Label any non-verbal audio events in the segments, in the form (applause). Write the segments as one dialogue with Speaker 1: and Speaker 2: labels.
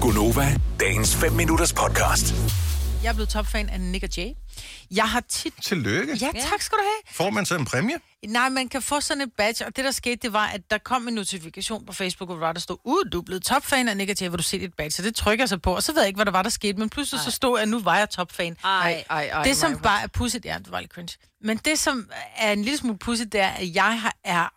Speaker 1: Gunova, dagens 5 minutters podcast.
Speaker 2: Jeg er blevet topfan af Nick og Jay. Jeg har tit...
Speaker 3: Tillykke.
Speaker 2: Ja, tak skal du have.
Speaker 3: Får man så en præmie?
Speaker 2: Nej, man kan få sådan et badge, og det der skete, det var, at der kom en notifikation på Facebook, hvor der var, der stod, uh, du er blevet topfan af Nick og Jay, hvor du se dit badge, så det trykker jeg så på, og så ved jeg ikke, hvad der var, der skete, men pludselig så stod jeg, at nu var jeg topfan.
Speaker 4: Ej, ej, ej.
Speaker 2: det, som
Speaker 4: Maja.
Speaker 2: bare er pudsigt, ja, det var lidt cringe. Men det, som er en lille smule pudsigt, det er, at jeg har, er,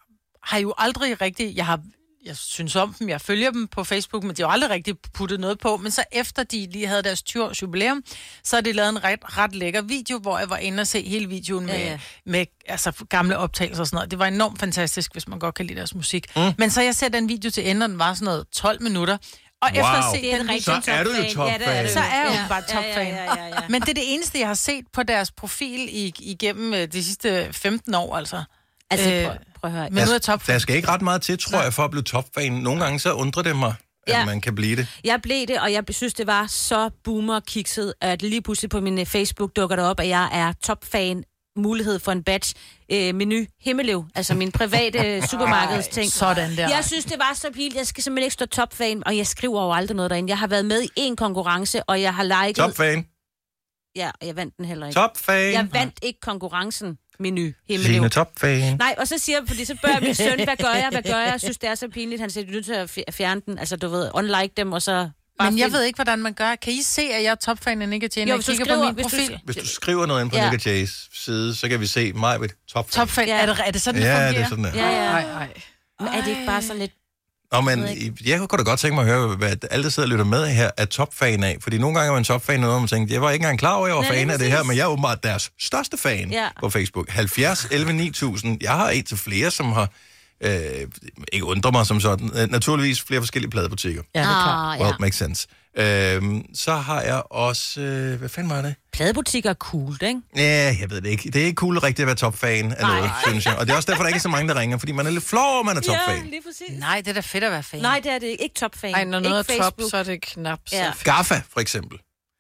Speaker 2: har jo aldrig rigtig... Jeg har jeg synes om dem, jeg følger dem på Facebook, men de har jo aldrig rigtig puttet noget på. Men så efter de lige havde deres 20-års jubilæum, så har de lavet en ret, ret lækker video, hvor jeg var inde og se hele videoen med, ja,
Speaker 4: Ja,
Speaker 2: ja.
Speaker 4: ja.
Speaker 2: med altså, gamle optagelser og sådan noget. Det var enormt fantastisk, hvis man godt kan lide deres musik. Mm. Men så jeg ser den video til ende, og den var sådan noget 12 minutter. Og wow. efter at se
Speaker 4: Det er en
Speaker 2: den
Speaker 4: rigtig
Speaker 3: Så er du jo
Speaker 4: topfan. Ja, det er
Speaker 3: topfan.
Speaker 4: du.
Speaker 2: så er jeg jo
Speaker 4: Ja.
Speaker 2: bare topfan.
Speaker 4: Ja, ja, ja, ja, ja.
Speaker 2: Men det er det eneste, jeg har set på deres profil i, igennem øh, de sidste 15 år, altså.
Speaker 4: Altså,
Speaker 2: Øh,
Speaker 4: prøv, prøv at høre.
Speaker 2: Men nu er jeg
Speaker 3: Der,
Speaker 2: topfan.
Speaker 3: der skal ikke ret meget til, tror jeg, for at blive topfan. Nogle gange så undrer det mig, at
Speaker 4: Ja.
Speaker 3: man kan blive det.
Speaker 4: Jeg blev det, og jeg synes, det var så boomer-kikset, at lige pludselig på min øh, Facebook dukker det op, at jeg er topfan mulighed for en batch øh, menu Himmelev, altså min (laughs) private supermarkeds ting.
Speaker 2: sådan der.
Speaker 4: Jeg synes, det var så pilt. Jeg skal simpelthen ikke stå topfan, og jeg skriver jo aldrig noget derinde. Jeg har været med i en konkurrence, og jeg har liket...
Speaker 3: Topfan.
Speaker 4: Ja, og jeg vandt den heller ikke.
Speaker 3: Topfan.
Speaker 4: Jeg vandt ikke konkurrencen menu Himmelev.
Speaker 3: Signe topfan.
Speaker 4: Nej, og så siger jeg, fordi så spørger jeg min søn, hvad gør jeg, hvad gør jeg? Jeg synes, det er så pinligt. Han siger, du er nødt til at fj- fjerne den. Altså, du ved, unlike dem, og så... bare
Speaker 2: Men jeg
Speaker 4: find-
Speaker 2: ved ikke, hvordan man gør. Kan I se, at jeg er topfan af Nick Jane?
Speaker 4: Jo,
Speaker 2: Jo,
Speaker 4: hvis du
Speaker 2: kigger
Speaker 4: skriver-
Speaker 2: på min
Speaker 4: hvis du
Speaker 2: profil.
Speaker 3: Hvis du skriver noget ind på
Speaker 4: Ja.
Speaker 3: Nick Jays side, så kan vi se mig ved topfan.
Speaker 2: Topfan,
Speaker 4: Ja.
Speaker 2: er, det, er det sådan, det
Speaker 3: Ja, det
Speaker 2: fungerer?
Speaker 3: er sådan der.
Speaker 4: Ja, ja.
Speaker 2: Ej, ej.
Speaker 4: Men er det ikke bare sådan lidt...
Speaker 3: Nå, men jeg kunne da godt tænke mig at høre, hvad alle, der sidder og lytter med her, er topfan af. Fordi nogle gange er man topfan af noget, og man tænker, jeg var ikke engang klar over, at jeg var
Speaker 4: Nej,
Speaker 3: fan
Speaker 4: lige
Speaker 3: af det
Speaker 4: præcis.
Speaker 3: her, men jeg er åbenbart deres største fan
Speaker 4: Ja.
Speaker 3: på Facebook. 70, 11, 9000. Jeg har et til flere, som har, øh, ikke undrer mig som sådan, øh, naturligvis flere forskellige pladebutikker.
Speaker 2: Ja, det er klart.
Speaker 4: Ah,
Speaker 3: Well,
Speaker 4: ja.
Speaker 3: yeah. makes sense. Øhm, så har jeg også... Øh, hvad fanden var det?
Speaker 4: Pladebutikker er cool, ikke?
Speaker 3: Ja, jeg ved det ikke. Det er ikke cool rigtigt at være topfan af
Speaker 4: Nej.
Speaker 3: noget, synes jeg. Og det er også derfor, der ikke er så mange, der ringer, fordi man er lidt flov over, at man er topfan.
Speaker 4: lige præcis.
Speaker 2: Nej, det er da fedt at være fan.
Speaker 4: Nej, det er det ikke. Ikke topfan.
Speaker 5: Ej, når noget
Speaker 4: ikke
Speaker 5: er top, så er det knap så
Speaker 4: Ja.
Speaker 5: ja.
Speaker 3: Gaffa, for eksempel.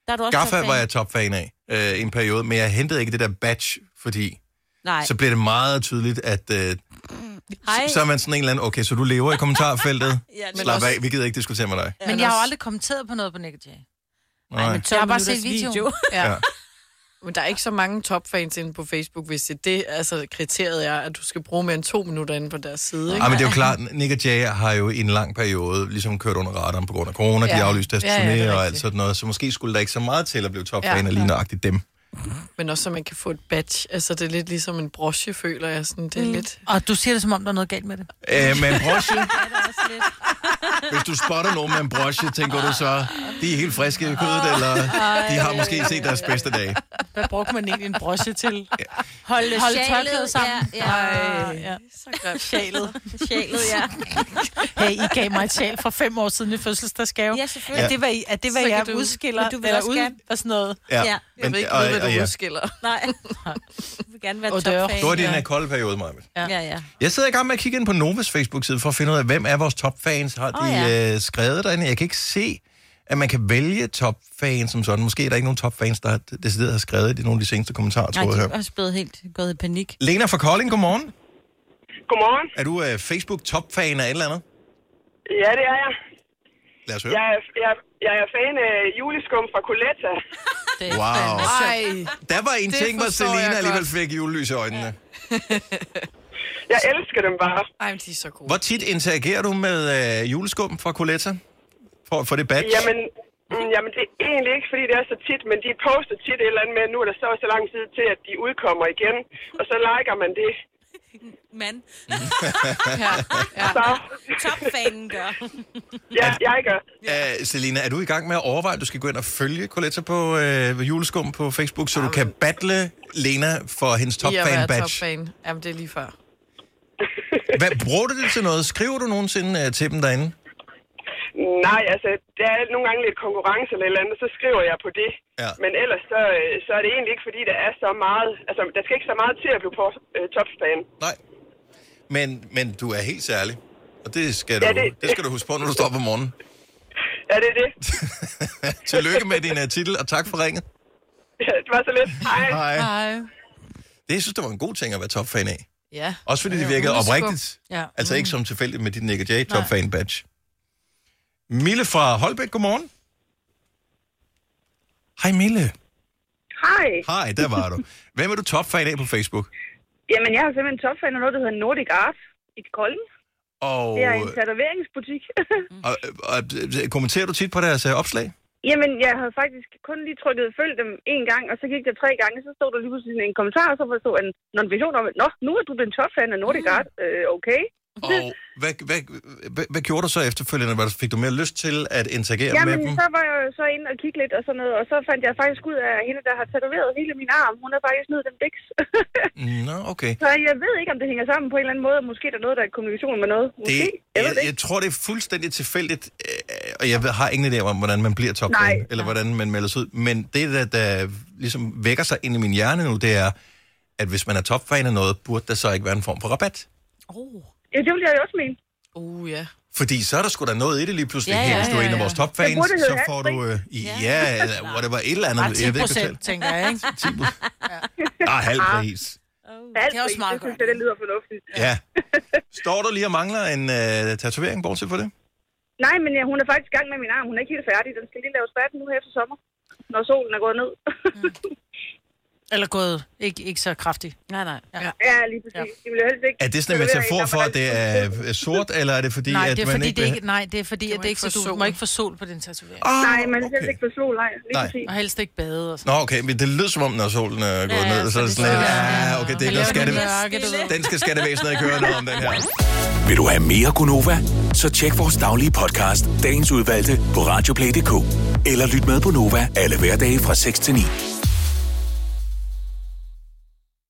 Speaker 4: Der er du også
Speaker 3: Gaffa
Speaker 4: topfan.
Speaker 3: var jeg topfan af øh, en periode, men jeg hentede ikke det der badge, fordi
Speaker 4: Nej.
Speaker 3: så blev det meget tydeligt, at øh,
Speaker 4: Hej.
Speaker 3: så er man sådan en eller anden, okay, så du lever i kommentarfeltet.
Speaker 4: Ja, det er
Speaker 3: Slap
Speaker 4: også-
Speaker 3: af, vi gider ikke diskutere med dig.
Speaker 2: Men jeg har jo aldrig kommenteret på noget på Nick Jay.
Speaker 4: Ej,
Speaker 3: Nej.
Speaker 4: men 12
Speaker 2: Jeg har bare
Speaker 4: minutters
Speaker 2: set videoen.
Speaker 5: Ja.
Speaker 3: Ja.
Speaker 5: Men der er ikke så mange topfans inde på Facebook, hvis det, er det altså, kriteriet er, at du skal bruge mere end to minutter inde på deres side. Ikke?
Speaker 3: Ja, men det er jo klart, Nick og Jay har jo i en lang periode ligesom kørt under radaren på grund af corona, ja. de
Speaker 5: Ja.
Speaker 3: aflyste deres
Speaker 5: Ja, ja, det er
Speaker 3: turnéer og alt
Speaker 5: rigtigt.
Speaker 3: sådan noget, så måske skulle der ikke så meget til at blive topfan ja.
Speaker 5: Ja.
Speaker 3: af lige nøjagtigt dem. Øh,
Speaker 5: Men også, så man kan få et badge. Altså, det er lidt ligesom en broche, føler jeg. Sådan, det er mm. lidt...
Speaker 2: Og du siger det, som om der er noget galt med det.
Speaker 3: Øh, men broche,
Speaker 4: også lidt.
Speaker 3: hvis du spotter nogen med en broche, tænker du så, de er helt friske i kødet, eller de har måske set deres bedste dag.
Speaker 2: Hvad brugte man egentlig en broche til? Holde
Speaker 4: Holde, sjalet,
Speaker 2: tørklædet sammen.
Speaker 4: Ja, ja.
Speaker 2: Ej, ja.
Speaker 5: Så grimt. (laughs)
Speaker 4: Sjalet. Sjalet, ja.
Speaker 2: Hey, I gav mig et sjæl for fem år siden i fødselsdagsgave.
Speaker 4: Ja, selvfølgelig.
Speaker 2: Er det, hvad, I- er det, hvad
Speaker 5: Så
Speaker 2: jeg
Speaker 5: kan du-
Speaker 2: udskiller?
Speaker 4: Men du vil
Speaker 2: eller
Speaker 4: også
Speaker 2: ud,
Speaker 4: gerne-
Speaker 2: og sådan noget.
Speaker 4: Ja.
Speaker 5: Jeg vil ikke
Speaker 3: og-
Speaker 5: vide, hvad
Speaker 3: og
Speaker 5: du
Speaker 3: ja.
Speaker 5: udskiller.
Speaker 4: Nej. Du vil gerne være
Speaker 2: Og døre.
Speaker 4: topfan.
Speaker 3: Det var din her kolde periode, Maja.
Speaker 4: Ja, ja.
Speaker 3: Jeg sidder i gang med at kigge ind på Novas Facebook-side for at finde ud af, hvem er vores topfans. Har de
Speaker 4: Åh,
Speaker 3: oh,
Speaker 4: ja.
Speaker 3: ja. øh, skrevet derinde? Jeg kan ikke se, at man kan vælge topfans som sådan. Måske er der ikke nogen topfans, der har decideret har skrevet det i nogle af de seneste kommentarer,
Speaker 4: Nej,
Speaker 3: tror
Speaker 4: de
Speaker 3: jeg.
Speaker 4: er også blevet helt gået i panik.
Speaker 3: Lena fra Kolding, godmorgen.
Speaker 6: Godmorgen.
Speaker 3: Er du øh, Facebook-topfan af et eller andet?
Speaker 6: Ja, det er jeg.
Speaker 3: Lad os høre.
Speaker 6: Jeg er, jeg, jeg er fan af juleskum fra Coletta.
Speaker 3: Wow.
Speaker 5: Ej,
Speaker 3: Der var en
Speaker 5: Det
Speaker 3: ting, hvor
Speaker 5: forstår jeg
Speaker 3: Selena
Speaker 5: godt.
Speaker 3: alligevel fik julelys i øjnene. Ja.
Speaker 6: Jeg elsker dem bare.
Speaker 5: Ej men de er så gode.
Speaker 3: Hvor tit interagerer du med øh, juleskum fra Coletta? For, for det badge?
Speaker 6: Jamen, mm, jamen, det er egentlig ikke, fordi det er så tit, men de poster tit et eller andet med, at nu er der så så lang tid til, at de udkommer igen. Og så liker man det.
Speaker 4: Mand.
Speaker 5: Ja, ja.
Speaker 6: Så
Speaker 4: Topfanen gør.
Speaker 6: ja, jeg gør.
Speaker 3: Øh, Selina, er du i gang med at overveje, at du skal gå ind og følge Coletta på øh, juleskum på Facebook, så du kan battle Lena for hendes
Speaker 5: I at være
Speaker 3: topfan-badge?
Speaker 5: topfan. Jamen, det er lige før.
Speaker 3: Hvad bruger du det til noget? Skriver du nogensinde øh, til dem derinde?
Speaker 6: Nej, altså, der er nogle gange lidt konkurrence eller et eller andet, så skriver jeg på det.
Speaker 3: Ja.
Speaker 6: Men ellers så, øh, så er det egentlig ikke, fordi der er så meget... Altså, der skal ikke så meget til at blive på øh, topspan.
Speaker 3: Nej. Men, men du er helt særlig. Og det skal, du,
Speaker 6: Ja,
Speaker 3: det...
Speaker 6: det-
Speaker 3: det skal du huske på, når du står op om morgenen.
Speaker 6: Ja, det (laughs) er det.
Speaker 3: Tillykke med din uh, titel, og tak for ringet.
Speaker 6: det var så lidt. Hej.
Speaker 5: Ej.
Speaker 3: Det, jeg synes, det var en god ting at være topfan af.
Speaker 5: Ja.
Speaker 3: Også fordi det
Speaker 5: Ja,
Speaker 3: virkede
Speaker 5: juleskum.
Speaker 3: oprigtigt.
Speaker 2: Ja.
Speaker 5: Mm.
Speaker 3: Altså ikke som tilfældigt med dit Nick Jay topfan-badge. Mille fra Holbæk, godmorgen. Hej Mille.
Speaker 6: Hej.
Speaker 3: Hej, der var du. Hvem er du topfan af på Facebook?
Speaker 6: Jamen, jeg er simpelthen topfan af noget, der hedder Nordic Art i Kolding.
Speaker 3: Og,
Speaker 6: Det er en tatoveringsbutik. (laughs)
Speaker 3: og, og, og kommenterer du tit på deres øh, opslag?
Speaker 6: (laughs) Jamen, jeg havde faktisk kun lige trykket følg dem en gang, og så gik der tre gange, og så stod der lige pludselig sådan en kommentar, og så var der stod en notifikation om, at Nå, nu er du den topfan af Nordic
Speaker 3: Mm.
Speaker 6: Art. Øh, okay.
Speaker 3: Og hvad, hvad, hvad, hvad gjorde du så efterfølgende? Hvad fik du mere lyst til at interagere
Speaker 6: Jamen,
Speaker 3: med dem?
Speaker 6: så var jeg jo så inde og kigge lidt og sådan noget, og så fandt jeg faktisk ud af, at hende, der har tatoveret hele min arm, hun har faktisk nødt den diks.
Speaker 3: Nå, okay.
Speaker 6: så jeg ved ikke, om det hænger sammen på en eller anden måde. Måske er der noget, der er kommunikation med noget. Måske.
Speaker 3: Det,
Speaker 6: jeg
Speaker 3: jeg,
Speaker 6: ved det
Speaker 3: jeg
Speaker 6: ikke.
Speaker 3: tror, det er fuldstændig tilfældigt, øh, og jeg ved, har ingen idé om, hvordan man bliver top
Speaker 6: Nej.
Speaker 3: 10, eller hvordan man melder sig ud. Men det, der, der ligesom vækker sig ind i min hjerne nu, det er, at hvis man er topfan af noget, burde der så ikke være en form for rabat?
Speaker 4: Oh.
Speaker 6: Ja, det ville jeg jo også mene.
Speaker 5: Uh, ja.
Speaker 3: Fordi så er der sgu da noget i det lige pludselig.
Speaker 4: Ja,
Speaker 3: Ja,
Speaker 4: ja,
Speaker 3: ja, Hvis du er
Speaker 4: ja,
Speaker 3: en af
Speaker 4: ja.
Speaker 3: vores topfans,
Speaker 6: Det burde
Speaker 3: så
Speaker 6: hedde
Speaker 3: får du... Øh, ja, ja eller whatever, et eller andet.
Speaker 2: Bare 10
Speaker 3: jeg ved ikke, hvad
Speaker 2: procent, tænker jeg, ikke?
Speaker 3: tal- 10 procent. Ah, halv pris.
Speaker 6: Alt
Speaker 2: Det er også
Speaker 6: pris,
Speaker 2: meget
Speaker 6: det synes
Speaker 2: godt.
Speaker 6: jeg, det lyder fornuftigt.
Speaker 3: Ja. Står du lige og mangler en øh, tatovering, bortset for det?
Speaker 6: Nej, men ja, hun er faktisk i gang med min arm. Hun er ikke helt færdig. Den skal lige laves færdig nu her efter sommer, når solen er gået ned.
Speaker 2: Eller gået ikke, ikke så kraftigt.
Speaker 4: Nej, nej.
Speaker 6: (laughs) ja, lige præcis. Ja. Det vil jeg helst ikke.
Speaker 3: Er det sådan en
Speaker 6: tatovere
Speaker 3: metafor
Speaker 6: en, der
Speaker 3: for, at det
Speaker 6: faktisk-
Speaker 3: er øh, sort, eller er det fordi,
Speaker 2: Nej,
Speaker 3: at
Speaker 2: det er
Speaker 3: man
Speaker 2: fordi,
Speaker 3: ikke...
Speaker 2: det
Speaker 3: vil
Speaker 2: ikke, nej, det er fordi,
Speaker 5: Du må
Speaker 2: at det ikke,
Speaker 5: ikke
Speaker 2: så
Speaker 5: få
Speaker 2: du
Speaker 5: sol.
Speaker 2: må ikke få sol på den tatovering.
Speaker 3: have- Ah,
Speaker 6: Nej, man skal helst
Speaker 3: okay.
Speaker 6: ikke få sol, nej. Lige
Speaker 3: Nej.
Speaker 6: præcis.
Speaker 2: Og helst ikke bade og sådan.
Speaker 3: Nå, okay, men det lyder som om, når solen øh, er gået
Speaker 4: Ja,
Speaker 3: ned, så
Speaker 4: så
Speaker 3: er det
Speaker 4: det
Speaker 3: sådan lidt,
Speaker 2: sådan,
Speaker 3: ja, okay, det er ikke noget skatte...
Speaker 2: mørke, du ved.
Speaker 3: Den skal skattevæsenet ikke høre noget om, den her.
Speaker 1: Vil du have mere Gunova? Så tjek vores daglige podcast, dagens udvalgte, på radioplay.dk. Eller lyt med på Nova alle hverdage fra 6 til 9.